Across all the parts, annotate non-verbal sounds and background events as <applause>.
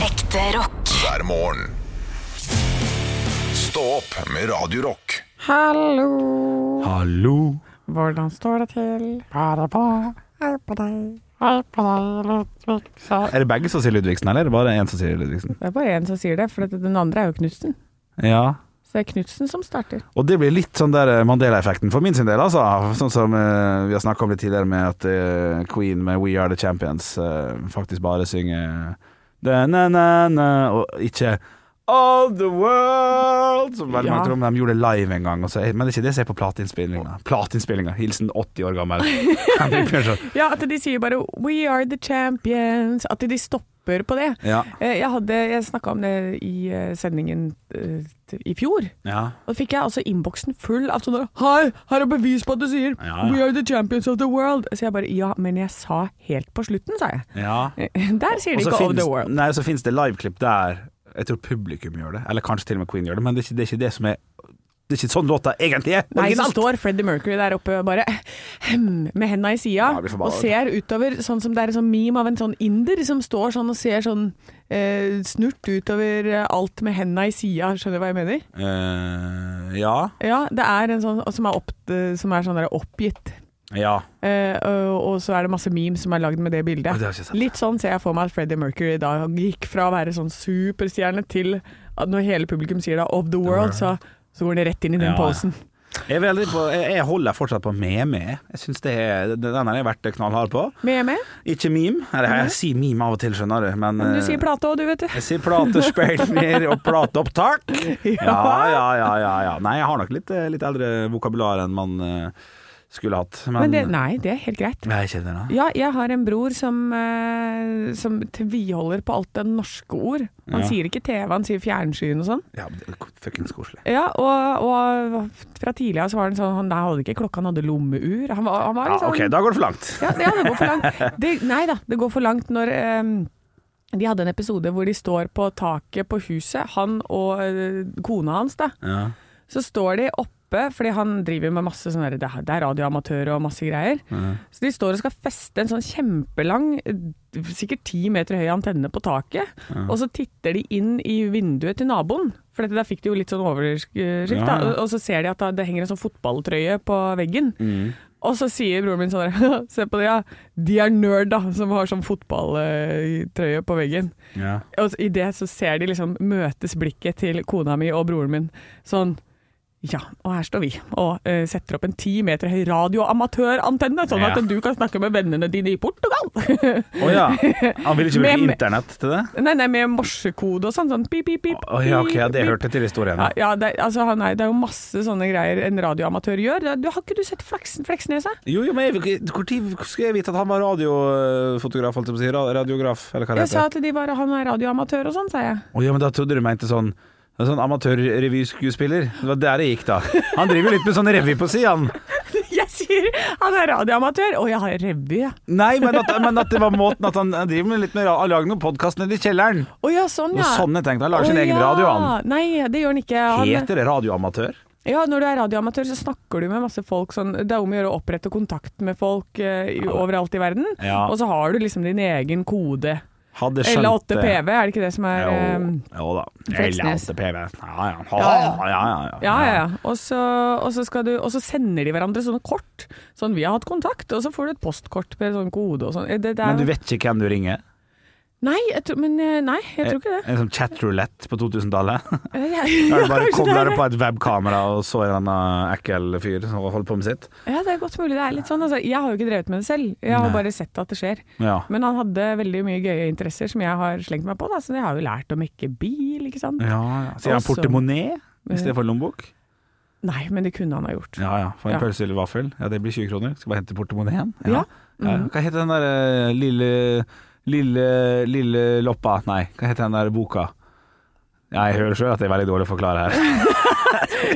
Ekte rock. hver morgen. Stå opp med Radio Rock. Hallo, Hallo. hvordan står det til? Bare bra. Hei på deg. Hei på deg, Ludvig. sa- Er det begge som sier Ludvigsen, eller er det bare én som sier Ludvigsen? Det er bare én som sier det, for at den andre er jo Knutsen. Ja. Så det er Knutsen som starter. Og det blir litt sånn der eh, Mandela-effekten for min sin del, altså. Sånn som eh, vi har snakka om litt tidligere med at eh, Queen med We Are The Champions eh, faktisk bare synger da, na, na, na, og ikke All the world Som veldig Ja. mange tror om de gjorde det live en gang. Og så, men det er ikke det som er på plateinnspillinga. Plateinnspillinga. Hilsen 80 år gammel Henrik Bjørnson. Ja, at de sier bare 'We are the champions'. At de stopper på det. Ja. Eh, Jeg, hadde- jeg snakka om det i eh, sendingen eh, t- i fjor. ja. Og da fikk jeg altså innboksen full av sånne 'Hei, her er bevis på at du sier Ja, ja. 'We are the champions of the world'. Så jeg bare 'Ja, men jeg sa helt på slutten', sa jeg. ja. Eh, Der sier de Og så ikke 'of the finnes- world'. Nei, så finnes det liveklipp der Jeg tror publikum gjør det, eller kanskje til og med Queen gjør det, men det er ikke det, er ikke det som er Det er ikke sånn låta egentlig er. Nei, så originalt. står Freddie Mercury der oppe og bare med henda i sida Ja, jeg blir forbanna. og ser utover, sånn som det er en sånn meme av en sånn inder som står sånn og ser sånn eh, snurt utover eh, alt med henda i sida, skjønner du hva jeg mener? Eh, ja. Ja, det er en sånn som er, opp, eh, som er sånn der oppgitt. Ja. Eh, og, og så er det masse memes som er lagd med det Å, bildet. det har jeg ikke sett. Litt sånn ser jeg for meg at Freddie Mercury da gikk fra å være sånn superstjerne til at når hele publikum sier da 'of the world', så, så går det rett inn i den Ja, ja. posen. Jeg, er veldig på, jeg, jeg holder fortsatt på meme. Jeg synes det er Den har jeg vært knallhard på. Med med? Ikke meme. Eller jeg sier meme av og til, skjønner du, men Mhm. Men du eh, sier plate òg, du, vet du. jeg sier platespiller og plateopptak. <laughs> Ja. Ja, ja, ja, ja, ja. Nei, jeg har nok litt, eh, litt eldre vokabular enn man eh, skulle hatt. Men Men, det, nei, det er helt greit. Nei, ikke det, da. Ja, jeg har en bror som, eh, som tviholder på alt det norske ord. Han Ja. sier ikke TV, han sier fjernsyn og sånn. Ja, men det er fuckings koselig. Ja, og, og fra tidligere så var han sånn Han der hadde ikke klokke, han hadde lommeur. Han var, han var Ja, litt sånn ok, da går det for langt. Ja, det, ja, det går for langt. Det, nei da, det går for langt når eh, de hadde en episode hvor de står på taket på huset, han og eh, kona hans, da. Ja. Så står de oppe, fordi han driver med masse sånne, det er- det er radioamatører og masse greier. Så de står og skal feste en sånn kjempelang, eh, sikkert ti meter høy antenne på taket. Og så titter de inn i vinduet til naboen, for dette der fikk de jo litt sånn oversikt. Ja, Da. ja. Og- Og så ser de at da- det henger en sånn fotballtrøye på veggen. Og så sier broren min sånn der, <laughs> se på det, ja. De er nerd, da, som har sånn fotballtrøye på veggen. Ja. Og i det så ser de liksom møtes blikket til kona mi og broren min sånn ja, og her står vi og eh, setter opp en ti meter høy radioamatørantenne, sånn Ja. at du kan snakke med vennene dine i Portugal. Å ja. Han ville ikke Mem. bruke internett til det? nei, nei, med morsekode og sånn. Sånn pip, pip, pip. Å ja, ok, ja, det pip, pip. hørte til historien. Ja, da. ja det, altså, han er, det er jo masse sånne greier en radioamatør gjør. Du, har ikke du sett Fleksen, Fleksnesa? Jo, jo, men jeg, hvor tid skulle jeg vite at han var radiofotograf, holdt jeg på å si? ra- Radiograf, eller hva det Jeg sa heter. at de var, han er radioamatør og sånn, sa jeg. <laughs> Å ja, men da trodde du mente sånn en sånn amatørrevyskuespiller. Det var der det gikk, da. Han driver jo litt med sånn revy på si, han. Jeg sier han er radioamatør, og jeg har revy, ja. Nei, men at, men at det var måten at han han driver med litt med ra- Han lager noen podkast nede i kjelleren. Å ja, sånn, Noe ja. sånn jeg tenkte. Han lager sin Å, egen ja. radio, han. Nei, det gjør han ikke. Han, Heter det radioamatør? ja, når du er radioamatør, så snakker du med masse folk. Sånn, det er om å gjøre å opprette kontakt med folk eh, i- overalt i verden. Ja. Og så har du liksom din egen kode. Hadde skjønt Eller 8 det. PV, er det ikke det som er eh, Jo, jo da. Fleksnes. Eller PV. Ja ja. Ha, Ja, ja. ja, ja, Ja, ja, ja. Og så, og, så skal du, og så sender de hverandre sånne kort. Sånn 'vi har hatt kontakt', og så får du et postkort med sånn kode og sånn. Det, det er, Men du vet ikke hvem du ringer? Nei, jeg tror, men, eh, nei, jeg tror ikke det. Eh, En sånn chatroulette på <laughs> 2000-tallet? Jeg, Der du <laughs> bare kanskje kommer det er- på et webkamera og så en eller annen ekkel fyr som holder på med sitt? Ja, det er godt mulig det er litt sånn. Altså, jeg har jo ikke drevet med det selv, jeg har Nei. bare sett at det skjer. Ja. Men han hadde veldig mye gøye interesser som jeg har slengt meg på, da, så jeg har jo lært å mekke bil, ikke sant. Ja, ja. Sier han Også- portemonee istedenfor lommebok? Eh, Nei, men det kunne han ha gjort. Ja ja. Få en Ja. pølse eller vaffel. Ja, det blir 20 kroner. Skal bare hente portemoneen. Ja. <laughs> Mm. Ja, ja. Hva heter den derre lille Lille Lille loppa Nei, hva heter den der boka? Ja, jeg hører sjøl at det er veldig dårlig å forklare her.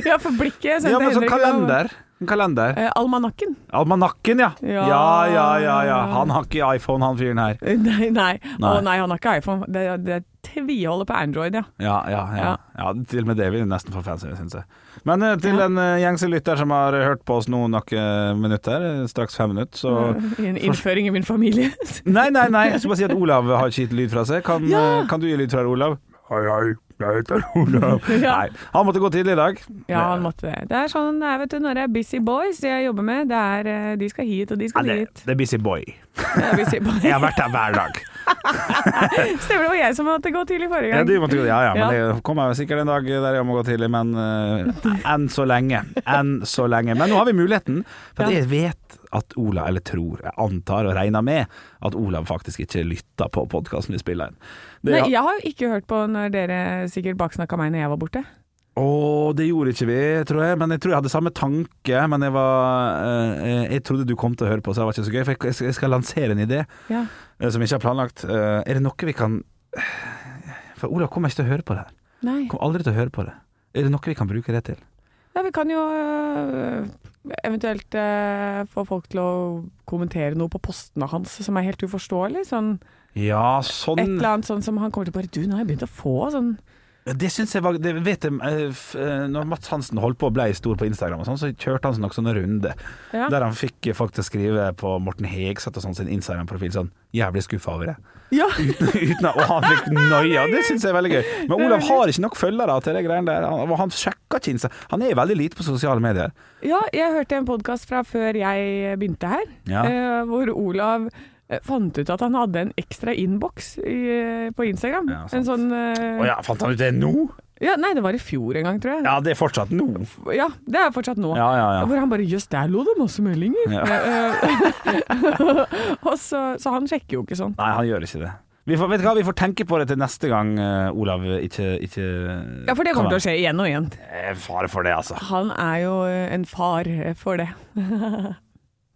Ja, for blikket sendte Ja, men sånn Henrik- kalender. En kalender. Eh, almanakken. Almanakken, ja. Ja. Ja, ja, ja. ja. Han har ikke iPhone, han fyren her. Eh, Nei, nei. Nei. Å nei, han har ikke iPhone. Det, det tviholder på Android, ja. Ja, ja, ja. Ja. ja til og med det vil jeg nesten få fancy, syns jeg. Men eh, til en eh, gjengse lytter som har hørt på oss nå noen minutter, eh, straks fem minutter, så En innføring <laughs> i min familie. <laughs> Nei, nei, nei, jeg skulle bare si at Olav har ikke gitt lyd fra seg. Kan, Ja. eh, kan du gi lyd fra deg, Olav? Hei, hei, jeg heter Olav. <laughs> Ja. Nei, han måtte gå tidlig i dag. Ja, han måtte det. Det er sånn det er, vet du, når det er busy boys jeg jobber med. Det er, eh, de skal hit, og de Ja, skal det, dit. det er busy boy. Det er <laughs> busy boys. Jeg har vært der hver dag. <laughs> Stemmer det var jeg som måtte gå tidlig forrige Ja, gang. du måtte, gå- ja, ja, men Ja. det kommer jo sikkert en dag der jeg må gå tidlig, men eh, enn så lenge. Enn så lenge. Men nå har vi muligheten, for at Ja. jeg vet at Olav, eller tror, jeg antar og regner med, at Olav faktisk ikke lytter på podkasten vi spiller inn. Det, Nei, jeg har jo ikke hørt på når dere sikkert baksnakka meg når jeg var borte. Å, det gjorde ikke vi, tror jeg. Men jeg tror jeg hadde samme tanke. Men jeg var eh, Jeg trodde du kom til å høre på, så det var ikke så gøy. For jeg- jeg skal, jeg skal lansere en idé Ja. eh, som jeg ikke har planlagt. Eh, er det noe vi kan eh, For Olav kommer ikke til å høre på det her. Nei. Kommer aldri til å høre på det. Er det noe vi kan bruke det til? Ja, vi kan jo øh, eventuelt øh, få folk til å kommentere noe på postene hans som er helt uforståelig. Sånn, Ja, et sånn eller annet sånn som han kommer til å bare Du, nå har jeg begynt å få sånn Det syns jeg var det vet jeg, eh, f- eh, Når Mats Hansen holdt på og ble stor på Instagram, og sånn, så kjørte han nok sånne runder. Ja. Der han fikk eh, folk til å skrive på Morten Hegseth og sånn sin Instagram-profil sånn 'Jævlig skuffa over det'. Ja! <laughs> Uten, og han fikk noia, det syns jeg er veldig gøy. Men Olav har ikke nok følgere til de greiene der. Han, og han sjekker ikke Insta. Han er veldig lite på sosiale medier. ja jeg hørte en podkast fra før jeg begynte her, Ja. øh, hvor Olav øh, fant ut at han hadde en ekstra innboks i, øh, på Instagram. Ja, sant. en sånn øh, Å ja, fant han ut det nå? ja, Nei, det var i fjor en gang, tror jeg. Ja, det er fortsatt nå. Ja, det er fortsatt nå. Ja, ja, ja. Hvor han bare 'jøss, der lå det masse meldinger'. Ja. Eh, <laughs> og så, så han sjekker jo ikke sånn. Nei, han gjør ikke det. Vi får, vet du hva, vi får tenke på det til neste gang eh, Olav ikke, ikke Ja, for det kommer til å skje igjen og igjen. Fare for det, altså. Han er jo eh, en far for det. <laughs>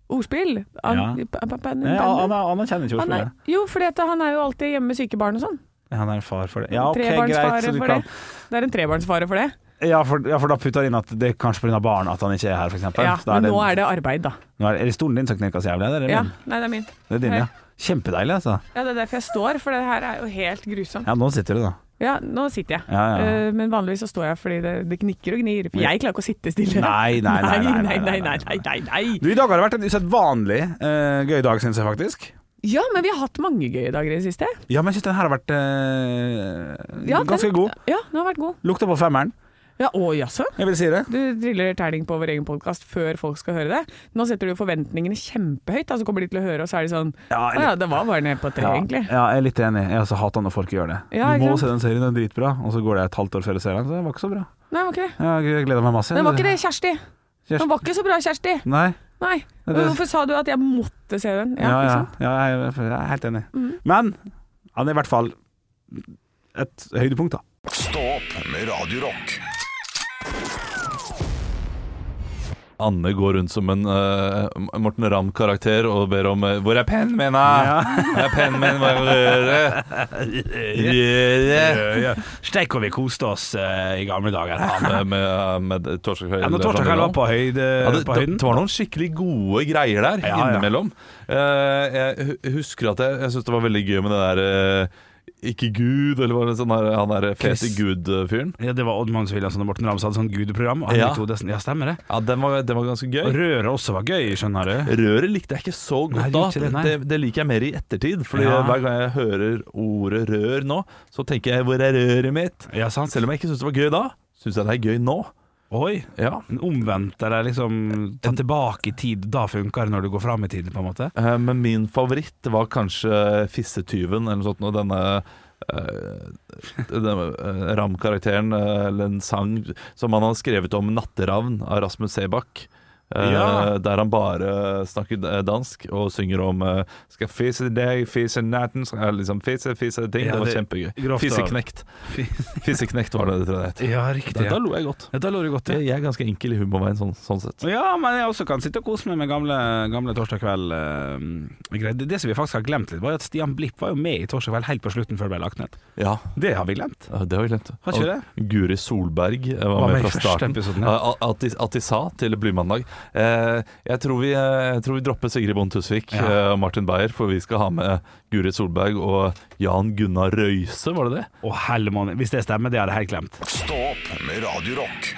Ordspill. Han, Ja. pa- pa- pa- Nei, han, han, han kjenner ikke han ordspillet. er, jo, for han er jo alltid hjemme med syke barn og sånn. Han er en far for det. Ja, ok, greit. Trebarnsfare Så du for kan, det. Det er en trebarnsfare for det. ja, for, ja, for da putter han inn at det er kanskje pga. barn at han ikke er her, f.eks. Ja, men nå er det arbeid, da. nå er, er det stolen din som knekker så jævlig? eller Er det Ja, min? nei, det er min. Det er din, ja. Kjempedeilig, altså. Ja, Det er derfor jeg står, for det her er jo helt grusomt. Ja, nå sitter du, da. Ja, nå sitter jeg. Ja, ja. ja. Eh, Men vanligvis så står jeg fordi det, det gnikker og gnir. For jeg klarer ikke å sitte stille. <laughs> Nei, nei, nei, nei, nei, nei, nei, nei, nei, nei. Du, I dag har det vært en usedvanlig eh, gøy dag, syns jeg faktisk. Ja, men vi har hatt mange gøye dager i det siste. Ja, men jeg syns den her har vært eh, Ja, ganske den- god. Ja, den har vært god. Lukta på femmeren, Ja, Å jaså? jeg vil si det. Du driller terning på vår egen podkast før folk skal høre det. Nå setter du forventningene kjempehøyt, da, så kommer de til å høre, og så er de sånn Å Ja, ja, det var bare ned på tre, Ja, egentlig. ja, jeg er litt enig. Jeg også hater når folk gjør det. Ja, du må ikke sant? se den serien, den er dritbra. Og så går det et halvt år før du ser den, så den var ikke så bra. Nei, det var ikke det. Ja, jeg gleder meg masse. Det var ikke det, Kjersti. Kjersti. Den var ikke så bra, Kjersti. Nei. Nei. Det- Hvorfor sa du at jeg måtte se den? Ja, ikke ja, sant? Mhm. ja, jeg, jeg er helt enig. Men han er i hvert fall et høydepunkt, da. Stå opp med Radio Rock. Anne går rundt som en eh, Morten Ramm-karakter og ber om eh, 'Hvor er pennen min, da?' <laughs> 'Hvor er pennen min? Hva gjør dere?' Steik og vi koste oss eh, i gamle dager. Med, med, eh, med torsdag kveld. Ja, når Torsdag kveld var på, høyde, Ja, det, på det, høyden det var noen skikkelig gode greier der Ja, ja. innimellom. Eh, jeg hu- husker at jeg, jeg syntes det var veldig gøy med det der eh, Ikke Gud, eller hva det sånn der, han der Chris. fete Gud-fyren. ja, Det var Odd Magnus Williamson og Morten Ramm som hadde sånn gudeprogram. Og Ja. Henrik Thodesen, ja, stemmer det. Ja, den var, den var ganske Og gøy. Røret også var gøy, skjønner du. Røret likte jeg ikke så godt Nei, du da. gjorde ikke det, nei. det, det liker jeg mer i ettertid. Fordi Ja. hver gang jeg hører ordet rør nå, så tenker jeg 'hvor er røret mitt?' Ja, sant. Selv om jeg ikke syns det var gøy da, syns jeg det er gøy nå. Oi. Ja. En omvendt, eller liksom ta tilbake i tid. Da funker det når du går fram i tiden, på en måte. Eh, Men min favoritt var kanskje Fissetyven eller noe sånt. Og denne eh, <laughs> denne eh, Ram-karakteren, eh, eller en sang som han har skrevet om 'Natteravn' av Rasmus Sebakk. eh, Ja. Der han bare snakker eh, dansk og synger om eh, 'skal fise deg, fise natten' skal- eh, liksom Fise, fise ting. Ja, det var det- kjempegøy. grovt av- Fiseknekt. <laughs> Fiseknekt var det det tror jeg det het. Ja, riktig. Da, da <laughs> Ja. lo jeg godt. Ja, da lå det godt, ja. Jeg jeg er ganske enkel i humorveien sånn, sånn sett. Ja, men jeg også kan sitte og kose meg med gamle, gamle torsdag kveld. eh, greier. det, det som vi faktisk har glemt litt, var jo at Stian Blipp var jo med i Torsdag kveld helt på slutten før det ble lagt ned. Ja, Det har vi glemt. Ja, Det har vi glemt. Har ikke vi det? Og Guri Solberg eh, var, Var med, med i fra første starten. episoden, Eh, at, de, at de sa til Blymandag Eh, jeg, tror vi, eh, jeg tror vi dropper Sigrid Bonde Tusvik eh, og Ja. Martin Beyer, for vi skal ha med Guri Solberg og Jan Gunnar Røise, var det det? Å, helle måned. Hvis det stemmer, det hadde jeg helt glemt. Stå opp med Radio Rock.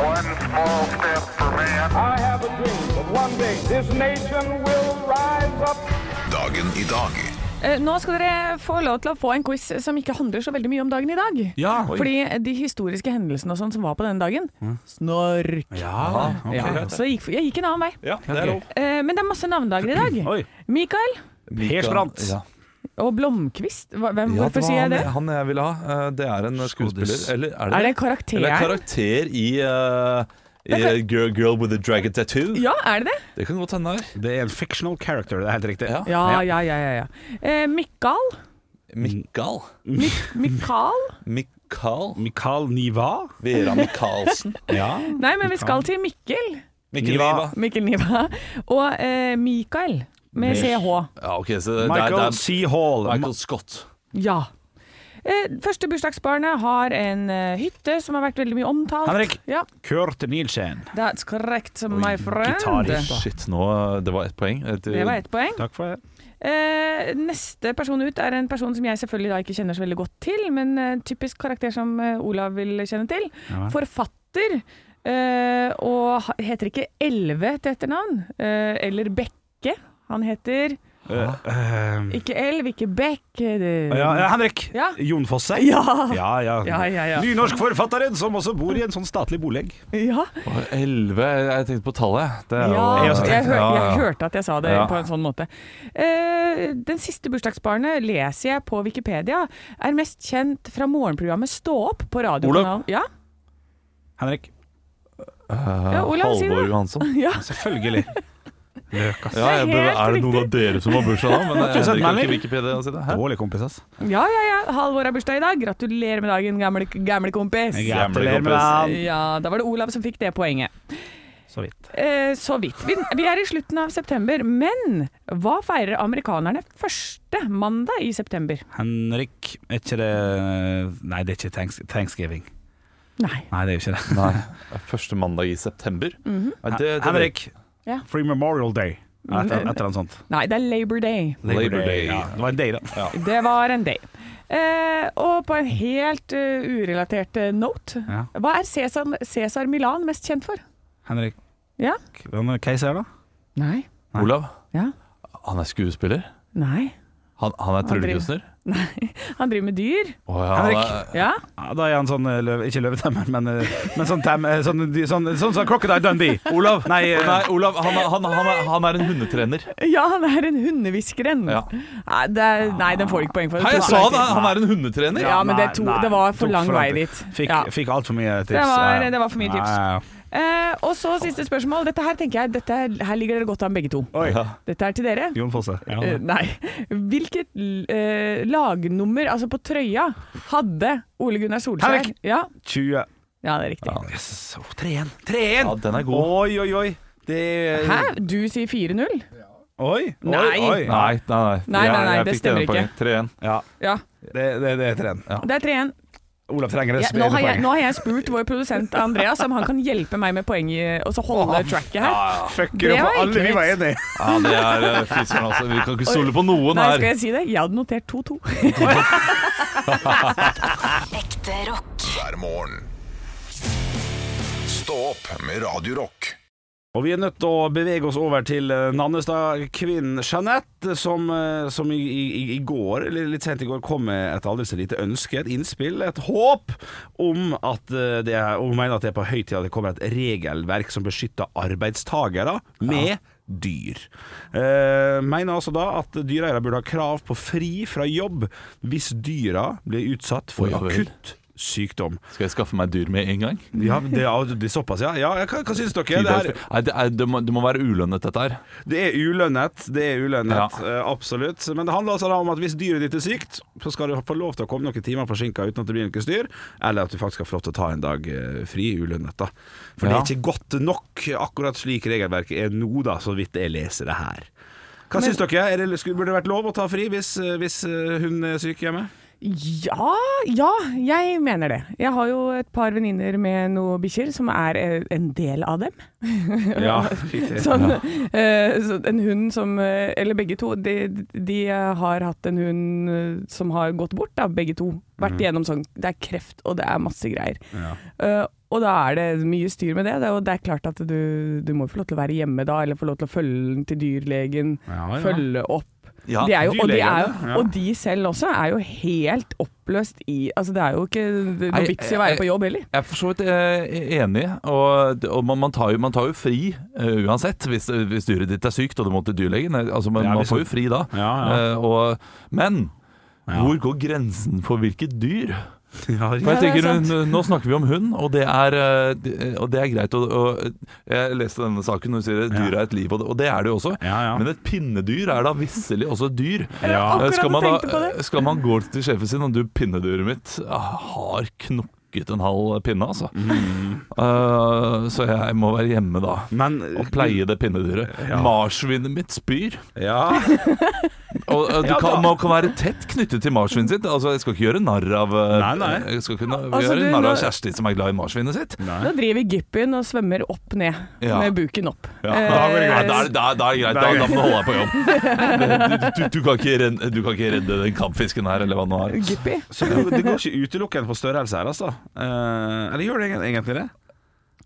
One small step for man. I have a dream that one day this nation will rise up. Dagen i dag. Eh, Nå skal dere få lov til å få en quiz som ikke handler så veldig mye om dagen i dag. Ja. Fordi de historiske hendelsene og sånn som var på denne dagen Snork! Mm. Ja. Ja, så jeg gikk, jeg gikk en annen vei. Ja, det er lov. Eh, men det er masse navnedager i <clears throat> Oi. dag. Mikael Persbrandt. Ja. og Blomkvist. Hva- Hvem, Ja, det Mm, hvorfor var sier jeg det? Han, han jeg ville ha. Eh, Det er en skuespiller. Eller er det Er det karakteren? Eller karakter i, eh, i Det kan- Girl, Girl with a Dragon Tattoo. Ja, er det det? Det kan godt hende. her. Det er en fictional character, det er helt riktig. Ja. Ja, ja, ja. ja, ja. Eh, Mikael? Mikael. Mikael? Mikael. Mikael Niva. Vera Michaelsen. Ja. Nei, men vi skal til Mikkel. Mikkel Niva. Niva. Mikkel Niva. Og eh, Mikael med CH. Ja, ok, så det, det, er- Michael det C. Hall. er Michael Scott. Ja. Eh, første bursdagsbarnet har en eh, hytte som har vært veldig mye omtalt. Henrik. Ja, Kurt Nielsen. That's correct, my friend. gitarist. Shit, nå eh, Det var ett poeng. Eh, til- Det var ett poeng. Takk for det. Eh, neste person ut er en person som jeg selvfølgelig da ikke kjenner så veldig godt til, men eh, typisk karakter som eh, Olav vil kjenne til. Ja. Forfatter. eh, og ha- heter ikke Elleve til etternavn. eh, eller Bekke. Han heter Eh, ikke Elv, ikke Bekk. Det... ja, ja, Henrik. Ja. Jon Fosse. Ja. Ja, ja. Ja, ja, ja. Nynorsk forfatteren som også bor i en sånn statlig bolig. ja. Å, 11 Jeg tenkte på tallet. Det er Ja, jo- Jeg også jeg, hør, Ja, jeg ja. hørte at jeg sa det Ja. på en sånn måte. Eh, den siste bursdagsbarnet leser jeg på Wikipedia. Er mest kjent fra morgenprogrammet Stå opp på radiokanalen. Ja, Henrik. Eh, Ja, Olav, si det. Halvor Johansson. ja. Selvfølgelig. Løk, ass. <laughs> Ja, jeg, Det er helt er det noen av dere som har bursdag da? Men jeg, Tusen jeg, melding. ikke Wikipedia å si det. Hæ? Dårlig kompis, ass. ja, ja. ja. Halvor har bursdag i dag. Gratulerer med dagen, gamle, gamle kompis. Gratulerer med kompis. den. Ja, da var det Olav som fikk det poenget. Så vidt. Eh, så vidt. Vi, vi er i slutten av september, men hva feirer amerikanerne første mandag i september? Henrik, er ikke det Nei, det er ikke thanks, thanksgiving. Nei. Nei, det er jo ikke det. Nei. Første mandag i september. Mhm. Nei, det, det, Henrik, Ja. Free Memorial Day. Nei, Et et eller annet sånt. Nei, det er Labor Day. Labor Day. Ja, det var en day, da. Det var en day. Eh, og på en helt eh, urelatert eh, note Ja. Hva er Cæsar, Cæsar Milan mest kjent for? Henrik, Ja? hvem er keiser, da? Nei. Olav, Ja. han er skuespiller. Nei. Han, han er driver- tryllekunstner. Han driver med dyr. Å, ja, han Henrik. er- Ja. Ja, da er han sånn eh, løv, Ikke løvetemmer, men, eh, men sånn tem... eh, Sånn sånn, sånn, sånn, som Crocodile Dundee. Olav! Nei, eh, Nei, Olav, han, er- han, han, er, han er en hundetrener. <laughs> ja, han er en hundehviskeren. Ja. Nei, det er- nei, den får du ikke poeng for. Hei, jeg Tok sa lang det! tid. Han er en hundetrener! Ja, men nei, det, to, nei, det var for tok lang vei tid. dit. Fikk, Ja. fikk altfor mye tips. var- Ja. det var for mye tips. Ja, ja. Eh, og så siste spørsmål. Dette her tenker jeg, dette, er- her ligger dere godt an, begge to. Oi. Dette er til dere. Jon Fosse. Ja. Eh, nei. Hvilket eh, lagnummer, altså på trøya, hadde Ole Gunnar Solskjær? Henrik. Ja. 20. ja, det er riktig. Yes. Oh, 3-1. 3-1! Ja, den er god. Oi, oi, oi. Det Hæ? Du sier 4-0? Oi, oi, Nei. Nei, oi. nei, nei. Nei, nei, nei, Jeg- jeg fikk det det stemmer ene ikke. poenget. 3-1. Ja, Ja. det, det, det heter den. Ja. Det er 3-1. Olav trenger et Ja, nå, spennende har jeg- poeng. nå har jeg spurt vår produsent Andreas om han kan hjelpe meg med poeng i- og så holde tracket her. Fucker Det opp var for alle ikke vi var rett. enige. Ja, det er eh, fy søren, altså. Vi kan ikke stole på noen Sånn Nei, skal her. jeg si det? Jeg hadde notert 2-2. Ekte rock. Hver morgen. Stå opp med Radio Rock. Og vi er nødt til å bevege oss over til eh, Nannestad-kvinnen Jeanette, som, eh, som i, i, i går, eller litt sent i går, kom med et aldri så lite ønske, et innspill, et håp om at eh, det er, og hun mener at det er på høy tid at det kommer et regelverk som beskytter arbeidstagere med dyr. Eh, mener altså da at dyreeiere burde ha krav på fri fra jobb hvis dyra blir utsatt for Oi, oi, oi. akutt sykdom. Skal jeg skaffe meg dyr med en gang? Ja, det er, det er såpass, ja. ja hva, hva syns dere? Det her, Nei, det, er, det, må, det må være ulønnet, dette her. Det er ulønnet, det er ulønnet, Ja. eh, absolutt. Men det handler altså da om at hvis dyret ditt er sykt, så skal du få lov til å komme noen timer forsinka uten at det blir noe styr, eller at du faktisk skal få lov til å ta en dag eh, fri ulønnet, da. For det Ja. er ikke godt nok, akkurat slik regelverket er nå, da, så vidt jeg leser det her. Hva syns dere? Er det, skulle- burde det vært lov å ta fri hvis, eh, hvis eh, hun er syk hjemme? <laughs> Ja, ja, jeg mener det. Jeg har jo et par venninner med noen bikkjer, som er eh, en del av dem. <laughs> Ja, riktig. Sånn, eh, så en hund som eh, Eller begge to. De, de eh, har hatt en hund eh, som har gått bort, da, begge to. Vært igjennom sånn Det er kreft, og det er masse greier. Mhm. Ja. Eh, og da er det mye styr med det, det- og det er klart at du, du må få lov til å være hjemme da, eller få lov til å følge den til dyrlegen, Ja, ja. følge opp. Ja, de er jo, og, de er jo, dyrlegene, ja. og de selv også er jo helt oppløst i Altså, det er jo ikke Nei, eh, noe vits i å jeg- være på jobb heller. Jeg er for så vidt eh, enig, og, og man, man, tar jo, man tar jo fri eh, uansett hvis, hvis dyret ditt er sykt og du må til dyrlegen. Eh, Altså, man, Ja, man hvis får du- jo fri da. Ja, ja. Eh, og, men Ja. hvor går grensen for hvilket dyr? Ja, For jeg Ja, det tenker, er nå, nå snakker vi om hund, og det er, eh, det- og det er greit. Og, og, jeg leste denne saken, hun sier at dyr er et liv, og det, og det er det jo også. Ja, ja. Men et pinnedyr er da visselig også et dyr. Ja. Eh, Skal man, tenkte på da, det. skal man gå til sjefen sin og du, pinnedyret mitt ah, har knokket en halv pinne, altså. Mm. Eh, så jeg må være hjemme da. Men Og pleie det pinnedyret. Marsvinet mitt spyr. Ja. Og eh, du Ja, kan, da. Man kan være tett knyttet til marsvinet sitt. Altså, Jeg skal ikke gjøre narr av eh, Nei, nei. Jeg skal ikke na- Altså, gjøre du, narr av nå- Kjersti som er glad i marsvinet sitt. Da driver gippien og svømmer opp ned, Ja. med buken opp. Ja. Eh, Da, går det greit. da, er- da, da er det greit. Da Da, er det da må du holde deg på jobb. Du, du, du, kan ikke redde, du kan ikke redde den kampfisken her, eller hva det nå er. Gippi. Så det går, det går ikke utelukkende på størrelse her, altså? Eh, eller gjør det egen- egentlig det?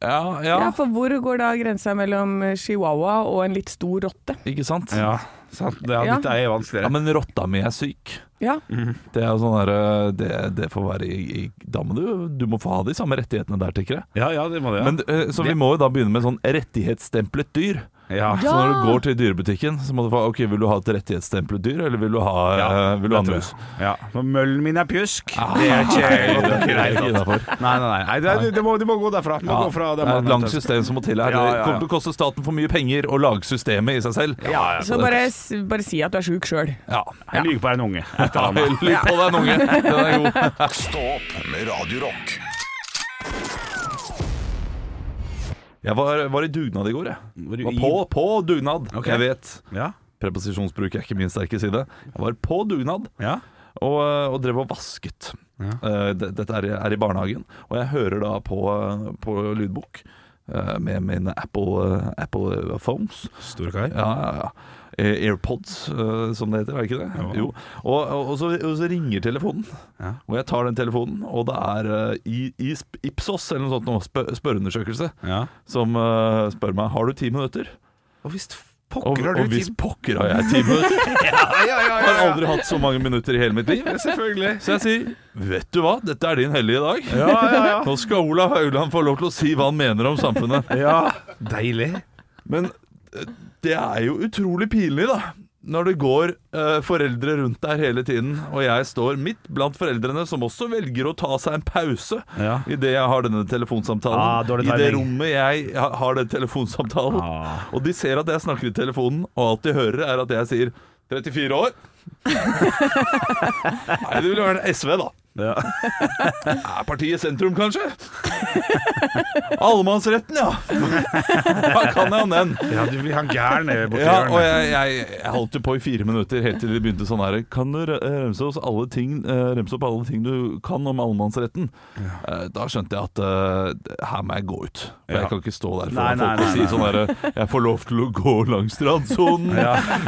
Ja, Ja. ja. for hvor går da grensa mellom chihuahua og en litt stor rotte? Ikke sant? Ja, sant. Det, ja, Ja. Dette er Ja, vanskeligere. men rotta mi er syk. Ja, Det er jo sånn der, det, det får være i, i Da må du, du må få ha de samme rettighetene der, tenker jeg. Ja, ja, det må det. Ja. Men, eh, så vi må jo da begynne med sånn rettighetsstemplet dyr. ja. Så Ja. når du går til dyrebutikken, så må du få Ok, vil du ha et rettighetsstemplet dyr, eller vil du ha, eh, vil du ha en det tror mus? jeg. Ja. Men Møllen min er pjusk. Det er <laughs> <laughs> ikke godt nok i Ah. det hele tatt. Nei, nei, nei. nei det, er- det må, du må gå derfra. Du må gå fra Ja, det det er et man- langt system som må til her. Ja, ja, ja. Det kommer til å koste staten for mye penger å lage systemet i seg selv. Ja, ja. Så bare, s- bare si at du er sjuk sjøl. Mm. <laughs> Ja. Jeg lyver på en <laughs> unge. Et eller annet. Lytt på deg, en unge. Den er god. Stå opp med Radio Rock. Jeg var, var i dugnad i går, jeg. Var du Var i- på, på dugnad. Ok. Jeg vet. Ja. Preposisjonsbruk er ikke min sterke side. Jeg var på dugnad Ja. og, eh, og drev og vasket. Eh, d- Dette er, i- er i barnehagen, og jeg hører da på, på lydbok eh, med mine Apple, eh, Apple phones. Store kar. Ja, ja, ja. Eh, AirPods, eh, som det heter, er det ikke det? Jo. Og, og, og, så, og så ringer telefonen, og jeg tar den telefonen, og det er eh, i, i sp- Ipsos eller noe sånt, nå, spør, spørreundersøkelse, Ja. som eh, spør meg har du ti minutter. Og hvis Og, pokker har og du hvis tid pokker har jeg ti minutter? Ja, ja, ja, Jeg har ja, aldri hatt så mange minutter i hele mitt liv. ja. Selvfølgelig. Så jeg sier vet du hva, dette er din hellige dag. Ja, ja, ja. Nå skal Olav Haugland få lov til å si hva han mener om samfunnet. ja. Deilig. Men eh, det er jo utrolig pinlig, da. Når det går eh, foreldre rundt der hele tiden, og jeg står midt blant foreldrene som også velger å ta seg en pause Ja. idet jeg har denne telefonsamtalen. Ah, dårlig I det timing. rommet jeg ha- har den telefonsamtalen. Ah. Og de ser at jeg snakker i telefonen, og alt de hører, er at jeg sier 34 <laughs> år. Nei, det ville vært SV, da. Ja. Er partiet sentrum, kanskje? Allemannsretten, <laughs> ja. Da kan jeg om den. ja, du blir han gæren nede borti Ja, og hjørnet. jeg, jeg, jeg holdt jo på i fire minutter helt til de begynte sånn her Kan du re- remse, oss alle ting, eh, remse opp alle ting du kan om allemannsretten? Eh, Da skjønte jeg at eh, her må jeg gå ut. For Ja. jeg kan ikke stå der Nei, foran nei, folk og nei, si nei. sånn her Jeg får lov til å gå langs strandsonen.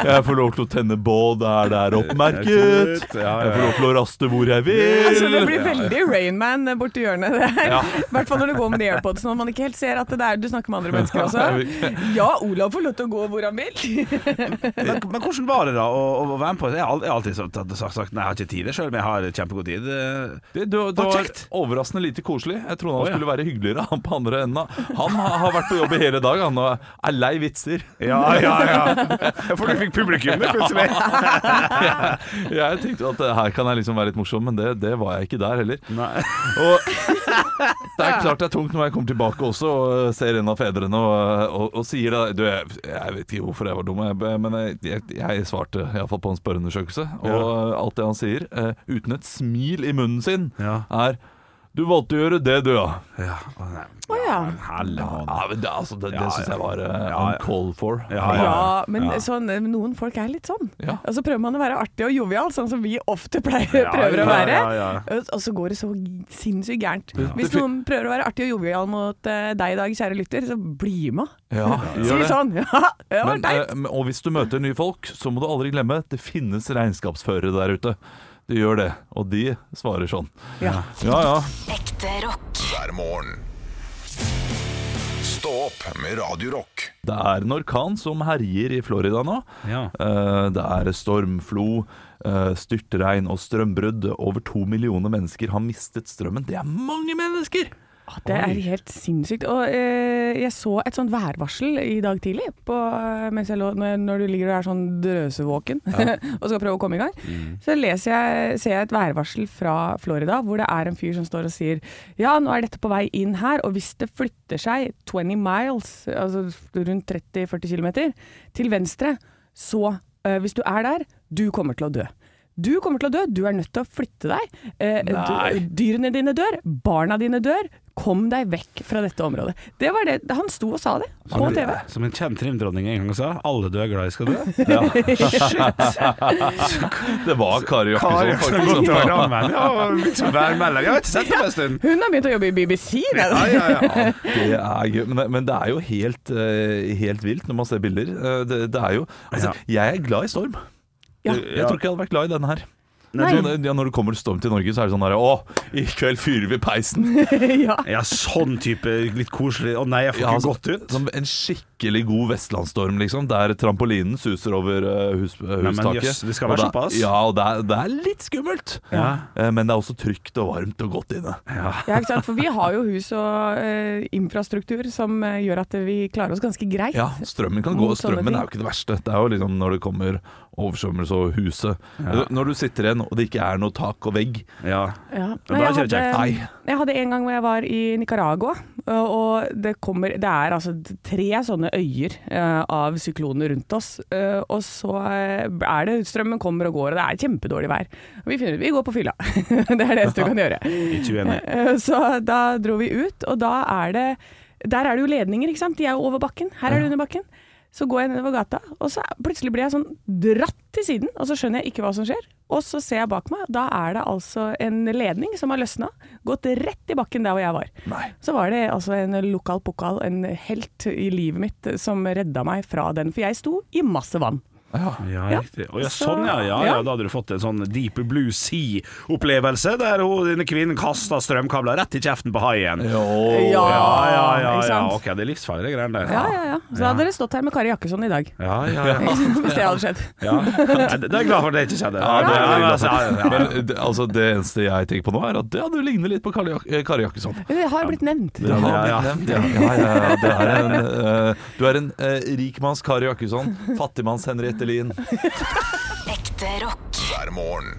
Jeg får lov til å tenne bål der det er oppmerket. Ja, ja, ja. Jeg får lov til å raste hvor jeg Altså, det vil. blir veldig Rainman borti hjørnet der. I hvert fall når du går med de airpodsene og man ikke helt ser at det er du snakker med andre mennesker <laughs> også. Ja, Olav får lov til å gå hvor han vil. Men, men hvordan var det da å, å være med på det? Jeg har aldri- jeg har alltid sagt, sagt, sagt nei, jeg har ikke tid, selv om jeg har kjempegod tid. Eh, Det, det, var- det Å, var kjekt. overraskende lite koselig. Jeg trodde han Å, ja. skulle være hyggeligere, han på andre enden. av- Han har, har vært på jobb i hele dag, han og er lei vitser. Ja, ja, ja. <laughs> For du fikk publikum det plutselig. Jeg tenkte jo at eh, her kan jeg liksom være litt morsom, men det, det var jeg ikke der heller. Nei. Og det er klart det er tungt når jeg kommer tilbake også og eh, ser en av fedrene og, eh, og, og sier da Du, jeg, jeg vet ikke hvorfor jeg var dum, jeg- men jeg, jeg, jeg svarte iallfall på en spørreundersøkelse. Og alt det han sier, eh, uten et smil i munnen sin, Ja. er Du valgte å gjøre det, du, ja. Ja. Å, nei. Å ja. Men helle måned. ja men det altså, det, det Ja, syns ja. jeg var uh, Ja, ja. call for. Ja, ja. Ja, men sånn, noen folk er litt sånn. Ja. Og så prøver man å være artig og jovial, sånn som vi ofte pleier, Ja, prøver å ja, være. ja, ja. Og- Og så går det så g- sinnssykt gærent. Hvis Det fi- noen prøver å være artig og jovial mot eh, deg i dag, kjære lytter, så bli med. Ja, Si gjør det. sånn. <laughs> Ja, det var Men, teit. eh, og hvis du møter nye folk, så må du aldri glemme det finnes regnskapsførere der ute. De gjør det, og de svarer sånn. Ja. Ja ja. Ekte rock. hver morgen. Stå opp med Radio Rock. Det er en orkan som herjer i Florida nå. Ja. Eh, Det er storm, flo, eh, styrtregn og strømbrudd. Over to millioner mennesker har mistet strømmen. Det er mange mennesker! Det er helt sinnssykt. Og eh, jeg så et sånt værvarsel i dag tidlig, på, eh, mens jeg lå, når, når du ligger og er sånn drøsevåken <laughs> og skal prøve å komme i gang. Så leser jeg, ser jeg et værvarsel fra Florida, hvor det er en fyr som står og sier ja, nå er dette på vei inn her, og hvis det flytter seg 20 miles, altså rundt 30-40 km, til venstre, så eh, hvis du er der, du kommer til å dø. Du kommer til å dø, du er nødt til å flytte deg. Eh, Nei. du, dyrene dine dør, barna dine dør. Kom deg vekk fra dette området. Det var det han sto og sa det på TV. <laughs> Som en kjent trimdronning en gang sa, alle du er glad i skal dø. Det var Kari Kari Jakkesson, Jakkesson faktisk. gått som- over rammen og liksom værmelding. Jeg har ikke sett det på <laughs> en stund. Hun har begynt å jobbe i BBC. det. Ja, ja, ja. Det er gøy, men det, men det er jo helt, eh, helt vilt når man ser bilder. Eh, Det, det er jo Altså, jeg er glad i storm. Ja. Jeg, jeg tror ikke jeg hadde vært glad i denne her. Nei. Sånn, ja, når det kommer storm til Norge, så er det sånn her Å, i kveld fyrer vi peisen. ja. Ja, sånn type litt koselig Å nei, jeg får Ja, ikke altså, gått ut. Som en skikkelig god vestlandsstorm, liksom. Der trampolinen suser over eh, hus, eh, men hustaket. jøss, det skal Og være det- såpass. Ja, og det er, det er litt skummelt. Ja. Eh, Men det er også trygt og varmt og godt inne. Ja, ikke sant? For vi har jo hus og eh, infrastruktur som eh, gjør at vi klarer oss ganske greit. Ja, strømmen kan gå. Mot sånne Strømmen ting. er jo ikke det verste. Det er jo liksom når det kommer oversvømmelse og huset. Altså, Når du sitter igjen og det ikke er noe tak og vegg. Ja. Ja. da Nei, er jeg, det kjekt. Nei. hadde, jeg hadde en gang hvor jeg var i Nicaragua, øh, og det, kommer, det er altså tre sånne øyer øh, av sykloner rundt oss. øh, og så øh, er det strømmen kommer og går, og det er kjempedårlig vær. Og vi finner ut vi går på fylla. <laughs> det er det eneste du kan gjøre. Ikke uenig. <laughs> Eh, Så da dro vi ut, og da er det Der er det jo ledninger, ikke sant? De er jo over bakken. Her er det under bakken. Så går jeg nedover gata, og så plutselig blir jeg sånn dratt til siden, og så skjønner jeg ikke hva som skjer. Og så ser jeg bak meg, da er det altså en ledning som har løsna, gått rett i bakken der hvor jeg var. Nei. Så var det altså en lokal pokal, en helt i livet mitt, som redda meg fra den, for jeg sto i masse vann. Ja, Ja. riktig. Å, ja, Så- sånn, ja, ja, ja. ja. Da hadde du fått en sånn Deep Blue Sea-opplevelse, der hun, denne kvinnen kasta strømkabler rett i kjeften på haien. Ja, Ja, ja, ja. ja, ikke sant? OK, det er livsfarlige greier, det. Ja, ja, ja. Så da hadde dere stått her med Kari Jakkesson i dag, <laughs> Ja, ja, <laughs> ja. hvis det hadde skjedd. ja. Nei, Det det er jeg glad for at det ikke skjedde. Ja, det er jeg men glad altså, ja, ja, for. ja. Men det, altså, det eneste jeg tenker på nå, er at det hadde jo lignet litt på Kari Jak- eh, Kari Jakkesson. Det har blitt nevnt. Det har Ja, blitt nevnt, ja. Ja, ja, ja. Det er en, <laughs> eh, du er en eh, rikmanns Kari Jakkesson, fattigmanns Henriette Lien. Ekte rock. hver morgen.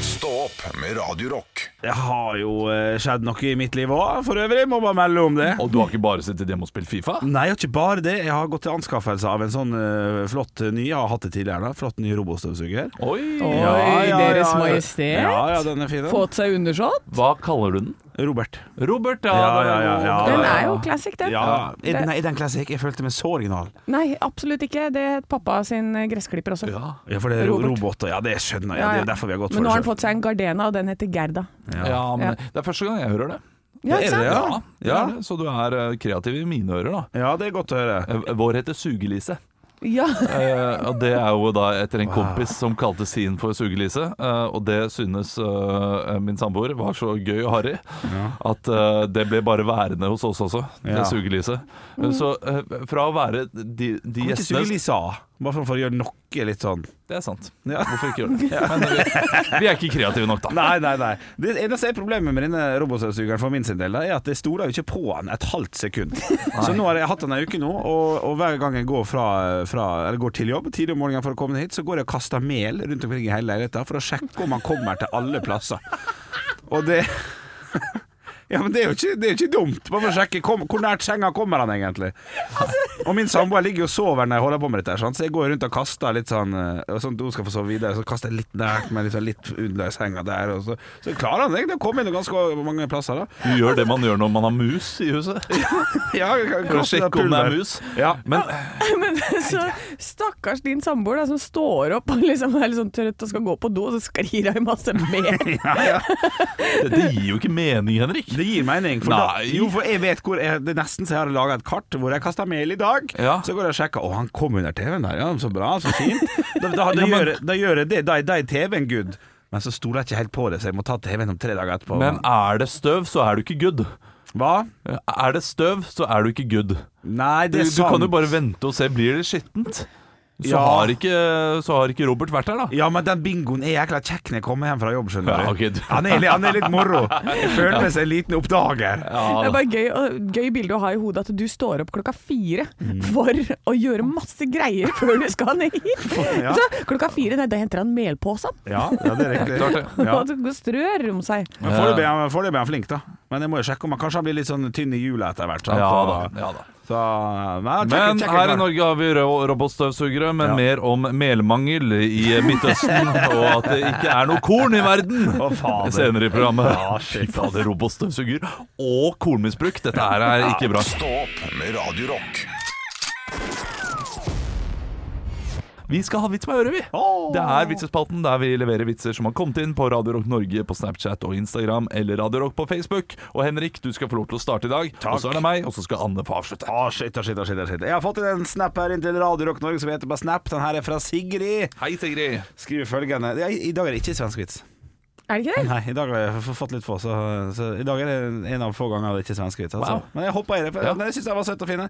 Stå opp med Radio Rock. Det har jo eh, skjedd noe i mitt liv òg, for øvrig. Må bare melde om det. Og du har ikke bare sittet hjemme og spilt Fifa? Nei, jeg har ikke bare det. Jeg har gått til anskaffelse av en sånn eh, flott eh, ny Jeg har hatt det tidligere, da. Flott ny robotstøvsuger. Oi! Oi, Deres Majestet. Ja, ja, den er fin. den. Fått seg undersått? Hva kaller du den? Robert. Robert, ja. Ja, det var ja, jo- ja, ja. Den er jo classic, den. Ja, Det- er, nei, er den classic? Jeg følte meg så original. Nei, absolutt ikke. Det het pappa sin eh, gressklipper også. Ja. Ja, for det er ro- Robert. roboter. Ja, det skjønner jeg. Ja, ja. Det er derfor vi har gått Men nå for har det. han fått seg en Gardena, og den heter Gerda. Ja. men Ja. Det er første gang jeg hører det. Ja, ikke det, sant? ja? Ja, det er det. Så du er eh, kreativ i mine ører, da. selv. Ja, det er godt å høre. Eh, Vår heter Sugelise. Ja. <laughs> Eh, og det er jo da etter en kompis som kalte sin for Sugelise. eh, og det synes eh, min samboer var så gøy og harry at eh, det ble bare værende hos oss også, det Ja. Sugelise. Eh, Så eh, fra å være de, de Kan ikke suge gjestene Lisa? Bare for å gjøre noe litt sånn Det er sant. Ja. Hvorfor ikke <laughs> gjøre det? Men eh, vi, vi er ikke kreative nok, da. Nei, nei, nei. Det eneste problemet med denne robotstøvsugeren for min sin del, da, er at jeg stoler jo ikke på den et halvt sekund. Så nå har jeg hatt den ei uke nå, og, og hver gang jeg går, fra, fra, eller går til jobb tidlig om morgenen for å komme hit, så går jeg og kaster mel rundt omkring i hele leiligheten for å sjekke om han kommer til alle plasser. Og det <laughs> Ja, men det er jo ikke, det er jo ikke dumt. Bare for å sjekke kom, hvor nært senga kommer han egentlig. Og min samboer ligger jo og sover når jeg holder på med dette, her, sant? så jeg går rundt og kaster litt sånn eh, og Sånn at hun skal få sove videre, så kaster jeg litt nært meg, liksom, litt under senga der. Og så, så klarer han egentlig å komme inn ganske mange plasser, da. <laughs> Du gjør det man gjør når man har mus i huset. Ja, jeg kan For å kaste det sjekke om det pulver. er mus. Ja. Men eh, Men så stakkars din samboer da, som står opp og liksom er litt sånn trøtt og skal gå på do, og så sklir hun masse <laughs> med. Ja, ja. det gir jo ikke mening, Henrik. Det gir mening. For da, Nei. jo, for jeg vet hvor jeg, Det er nesten så jeg har laga et kart hvor jeg kaster mel i dag. Ja. Så går jeg og sjekker Å, han kom under TV-en der. Ja, så bra, så <laughs> fint. Da, da, da, gjør, jeg- da gjør jeg det. Da, er- da er TV-en good. Men så stoler jeg ikke helt på det, så jeg må ta TV-en om tre dager etterpå. Men er det støv, så er du ikke good. Hva? Er det støv, så er du ikke good. Nei, Du, det er du sant. kan jo bare vente og se. Blir det skittent, så, Ja. har, ikke, så har ikke Robert vært der, da. Ja, men den bingoen er jækla kjekk når jeg kommer hjem fra jobb, skjønner Ja, du. ok, du- Han, er, litt- han er litt <laughs> moro. Jeg føler meg som en liten oppdager. Det er bare gøy, og gøy bilde å ha i hodet at du står opp klokka fire Mm. for å gjøre masse greier før du skal ned hit. <laughs> Ja. Så klokka fire, nei, da henter han melposen Ja, ja, det er riktig. Klart det. Eh. Ja. <laughs> og så strør om seg. Men foreløpig er han- foreløpig er han flink, da. Men jeg må jo sjekke om han kanskje han blir litt sånn tynn i hjulet etter hvert. sant? Ja da. Så- Ja, da. Så, nei, kjekke- Men kjekke her i kar. Norge har vi rå- robotstøvsugere, men Ja. mer om melmangel i <laughs> Midtøsten, og at det ikke er noe korn i verden Å, fader. senere i programmet. Ja, shit, Fy fader, robotstøvsuger og kornmisbruk. Dette her er ikke bra. Stå opp med Radio Rock. Vi skal ha vits med øret, vi. Det er Vitsespalten, der vi leverer vitser som har kommet inn på Radio Rock Norge på Snapchat og Instagram, eller Radio Rock på Facebook. Og Henrik, du skal få lov til å starte i dag. Og så er det meg, og så skal Anne få avslutte. Å, shit, å, shit, å, shit, å, shit. Jeg har fått inn en snap her inn til Radio Rock Norge som heter på Snap. Den her er fra Sigrid. Hei, Sigrid. Skriver følgende ja, I i dag er det ikke svensk vits. Er det ikke det? Nei, i dag har jeg f- fått litt få, så, så i dag er det en av få ganger det ikke er svensk vits. Altså. Wow. Men jeg hoppa i det, for Ja. men jeg syns den var søt og fin.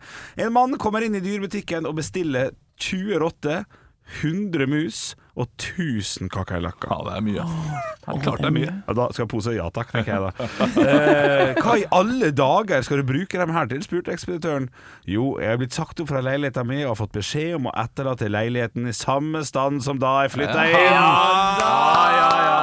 En mann kommer inn i dyrebutikken og bestiller 20 rotter, 100 mus og 1000 kakerlakker. Ja, det er mye. Det er klart det er mye. Ja, da skal jeg pose ja takk, tenker jeg da. <laughs> Eh, hva i alle dager skal du bruke dem her til, spurte ekspeditøren. Jo, jeg er blitt sagt opp fra leiligheten min og har fått beskjed om å etterlate leiligheten i samme stand som da jeg flytta inn. Ja, ja, ja.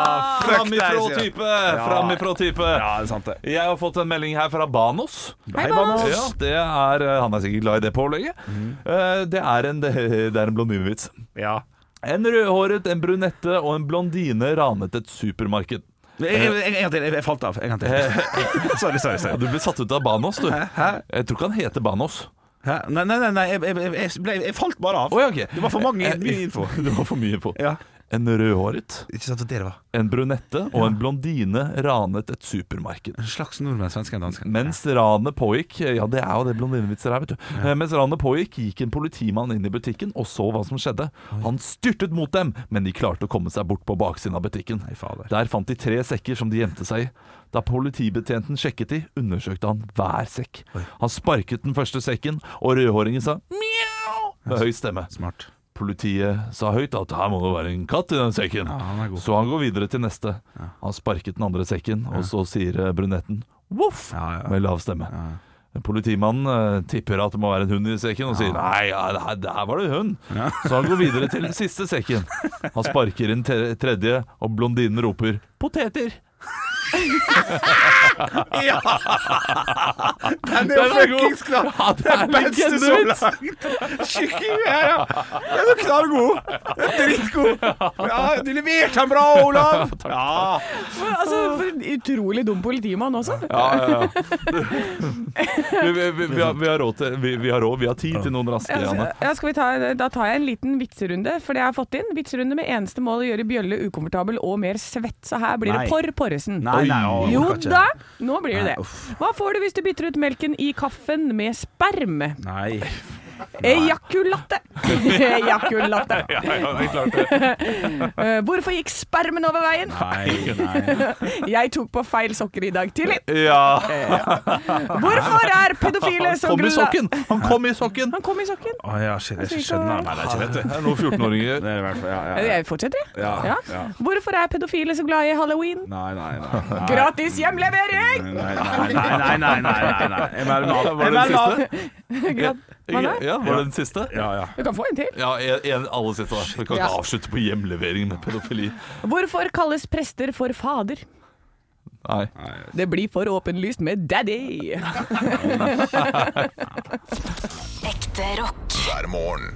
Fuck deg, Framifrå sier jeg. type! Framifrå type. Ja, det er sant det. Jeg har fått en melding her fra Banos. Hei, Banos. Ja, det er, eh, han er sikkert glad i det pålegget. Eh, Det er en, <laughs> det er en blondinevits. Ja. En rødhåret, en brunette og en blondine ranet et <laughs> supermarked. En en- en gang til. Jeg jeg falt av. En gang til. <laughs> Sorry, sorry. Ja, sorry. du ble satt ut av Banos, du. Jeg tror ikke han heter Banos. Hæ? Nei, nei, nei, nei. Jeg, jeg, jeg, ble, jeg falt bare av. Å, ja, ok. Det var for mange, Eh, eh, mye <laughs> info. <laughs> Det var for mye info. Ja. En rødhåret, Ikke sant at dere var en brunette og en blondine ranet et supermarked. En slags nordmenn, svenske og danske. Mens ranet pågikk Ja, det er jo det blondinevitser her, vet du. Eh, Mens ranet pågikk, gikk en politimann inn i butikken og så hva som skjedde. Han styrtet mot dem, men de klarte å komme seg bort på baksiden av butikken. fader. Der fant de tre sekker som de gjemte seg i. Da politibetjenten sjekket de, undersøkte han hver sekk. Han sparket den første sekken, og rødhåringen sa mjau med høy stemme. Smart. Politiet sa høyt at her må det være en katt i den sekken. han er god. så han går videre til neste. Han sparket den andre sekken, og så sier eh, brunetten voff Ja, ja. <laughs> med lav stemme. Politimannen eh, tipper at det må være en hund i sekken, og sier nei, ja, det her- der var det hund. Så han går videre til den siste sekken. Han sparker inn te- tredje, og blondinen roper poteter. Ja! Den er Den jo er god. fuckings klar! Ja, det er Den beste så legendevits. langt! Kykking her, ja. Den er så knallgod. Den er Drittgod. <laughs> Ja, du leverte den bra, <laughs> Olav! Ja. Men Altså, for en utrolig dum politimann også. Ja, ja, ja. Vi, vi, vi, vi, har, vi har råd til Vi, vi har råd, vi har tid til noen raske, Ja, Anne. så- Ja, skal vi ta, da tar jeg en liten vitserunde, for det jeg har fått inn. Vitserunde med eneste mål å gjøre Bjølle ukomfortabel og mer svett. Så her blir Nei. det Porr Porresen. Nei, nei, å, Jo orker ikke. da, nå blir det Nei, det. Hva får du hvis du bytter ut melken i kaffen med sperm? Nei. <laughs> Ejakulatte. Ejakulatte. det er klart det. <laughs> Eh, Hvorfor gikk spermen over veien? Nei, nei. Jeg tok på feil sokker i dag tidlig. Ja. Ah. Hvorfor er pedofile så Kom i grulla... sokken! Han kom i sokken! Han kom i sokken. Å ja, shit, Altså, jeg skjønner den her ikke, vet Det du. er noe 14-åringer Det er i hvert fall ja, ja, ja. Jeg fortsetter, jeg. Ja, Ja. ja. Hvorfor er pedofile så glad i halloween? Nei, nei, nei. nei. Gratis hjemlevering! Nei, nei, nei, nei, nei, nei, nei. Jeg melder meg av. Var Jeg det den melder meg av. siste? Grad- Hva da? Ja, var det den siste? Ja, ja. Du kan få en til. Ja, en, en aller siste. da. Vi kan ikke avslutte på hjemlevering med pedofili. Hvorfor kalles prester for fader? Nei. Det blir for åpenlyst med daddy. Ekte rock. hver morgen.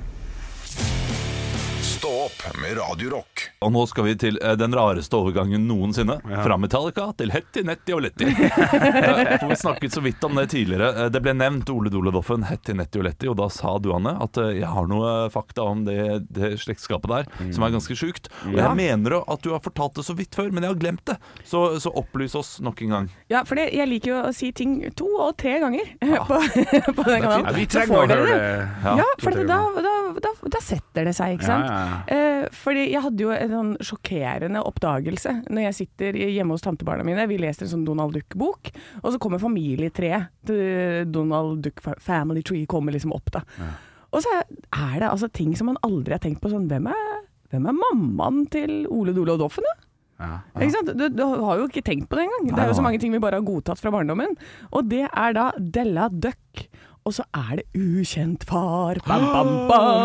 Stå opp med Radio Rock. Og nå skal vi til eh, den rareste overgangen noensinne. Fra Metallica til Hetty, Netty og Letty. Eh, For vi snakket så vidt om det tidligere. Eh, Det ble nevnt Ole Dole Doffen, Hetty, Netty og Letty, og da sa du, Anne, at eh, jeg har noe fakta om det, det slektskapet der som er ganske sjukt. Og jeg mener at du har fortalt det så vidt før, men jeg har glemt det. Så, så opplys oss nok en gang. Ja, for det, jeg liker jo å si ting to og tre ganger på, <laughs> på den kanalen. Ja, vi Så trenger får å dere høre det. Ja, for to-tre det, da, da, da, da setter det seg, ikke Ja, sant. Eh, fordi jeg hadde jo en sånn sjokkerende oppdagelse når jeg sitter hjemme hos tantebarna mine. Vi leser en sånn Donald Duck-bok, og så kommer familietreet til Donald Duck Family Tree kommer liksom opp, da. Og så er det altså ting som man aldri har tenkt på, sånn hvem er, hvem er mammaen til Ole Dole og Doffen, da? Ja. Ikke sant? Du, du har jo ikke tenkt på det engang. Det Nei, er jo så nei. mange ting vi bare har godtatt fra barndommen. Og det er da Della Duck. Og så er det ukjent far. Bam, bam, bam.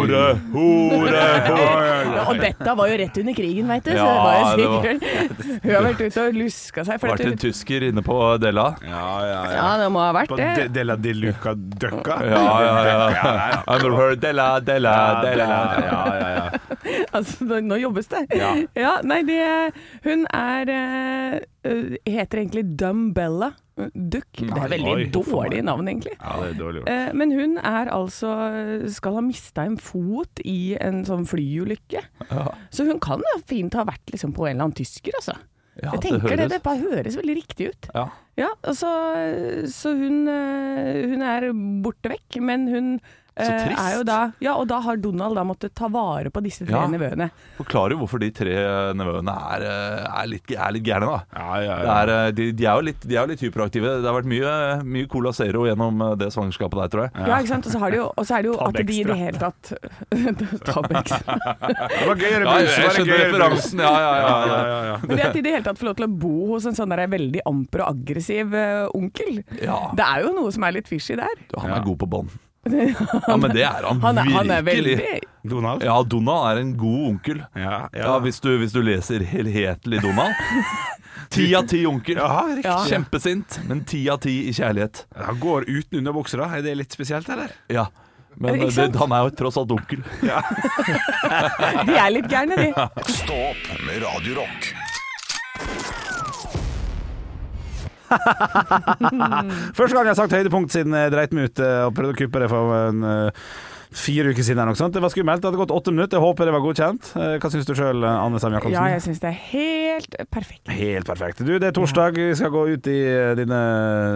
Hore, <laughs> hore, Ja, og dette var jo rett under krigen, veit du. Så det var jo Ja, sikkert Hun har vært ute og luska seg. For Vært at en hun, tysker inne på Della. Ja, ja, ja, det må ha vært På det. de, de la de Luca Døkka? Ja, ja, ja. I've never heard Della, Della, Della. ja, ja, ja. <laughs> Altså, nå- nå jobbes det. Ja. nei, det Hun er eh, eh, Heter egentlig Dumbella Duck. Det er veldig Oi, hvorfor dårlig navn, egentlig. Ja, det er dårlig gjort. Eh, Men hun er altså skal ha mista en fot i en sånn flyulykke. Så hun kan da fint ha vært liksom på en eller annen tysker, altså. Ja, Jeg tenker det, det, bare høres veldig riktig ut. Ja. Ja, og så, så hun, eh, hun er borte vekk, men hun Så eh, trist. er jo da Ja, og da har Donald da måttet ta vare på disse tre Ja. nevøene. forklarer jo hvorfor de tre nevøene er, eh, er, litt, er litt gærne, da. Ja, ja, Det ja. er, eh, de, de, er jo litt, de er jo litt hyperaktive. Det har vært mye, mye Cola Zero gjennom eh, det svangerskapet der, tror jeg. Ja, ikke sant. Og så, har de jo, og så er det jo Tab at de i Extra. det hele tatt <laughs> Tab Extra. Det var gøyere Ja, brus. jeg det var skjønner gøyere brus. referansen. Ja, ja, Ja, ja, ja, ja. ja, ja. Men det at de i det hele tatt får lov til å bo hos en sånn der veldig amper og aggressiv eh, onkel, Ja. det er jo noe som er litt fishy der. Du, Han er god på <laughs> bånd. Ja, men det er han, Han er, han er virkelig. veldig Donald? Ja, Donald er en god onkel. Ja, Ja, hvis, du, hvis du leser helhetlig <laughs> Donald. Ti av ti onkel. Jaha, riktig. Ja. Kjempesint, men ti av ti i kjærlighet. Han går uten underbukser, da. Er det litt spesielt, eller? Ja. Men Ikke eh, sant? det, han er jo tross alt onkel. De er litt gærne, <laughs> de. Stå opp med Radio Rock. Første gang jeg har sagt høydepunkt siden jeg dreit meg ut eh, og prøvde å kuppe det for en, eh, fire uker siden. Eller noe sånt. Det var skummelt. Det hadde gått åtte minutter. Jeg håper det var godkjent. Eh, Hva syns du sjøl, Anne Sem Jacobsen? Ja, jeg syns det er helt perfekt. Helt perfekt. Du, det er torsdag. Vi skal gå ut i eh, dine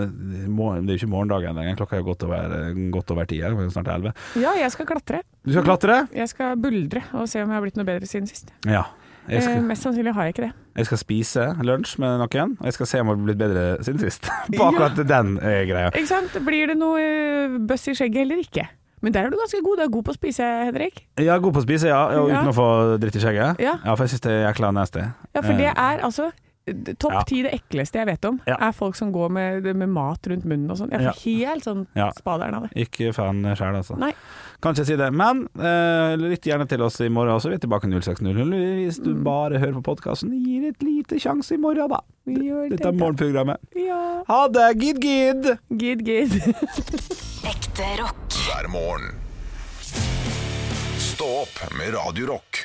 morgen- Det er jo ikke morgendagen lenger. Klokka er jo godt over, eh, godt over ti. her. Det er jo Snart elleve. Ja, jeg skal klatre. Du skal klatre? Jeg skal buldre og se om jeg har blitt noe bedre siden sist. Ja. Jeg Eh, skal, mest sannsynlig har jeg ikke det. jeg skal spise lunsj med noen, og jeg skal se om jeg har blitt bedre siden sist. <laughs> På akkurat den eh, greia. Ikke sant? Blir det noe eh, bøss i skjegget eller ikke? Men der er du ganske god. Du er god på å spise, Henrik. Jeg er god på å spise, ja, og Ja. uten å få dritt i skjegget. Ja. for jeg syns det er jækla nasty. Ja, for Eh, det er altså eh, Ja. topp ti det ekleste jeg vet om. Ja. Er folk som går med, med mat rundt munnen og sånn. Jeg får helt sånn Ja. spaderen av det. Ikke fan sjæl, altså. Nei. Kan ikke si det. Men eh, lytt gjerne til oss i morgen også. Vi er tilbake 06.00. Hvis du Mm. bare hører på podkasten, gir et lite sjanse i morgen, da. Vi gjør det, Dette er da. morgenprogrammet. Ja. Ha det! Gid, gid! Gid, gid. Ekte rock. hver morgen. Stå opp med Radio Rock.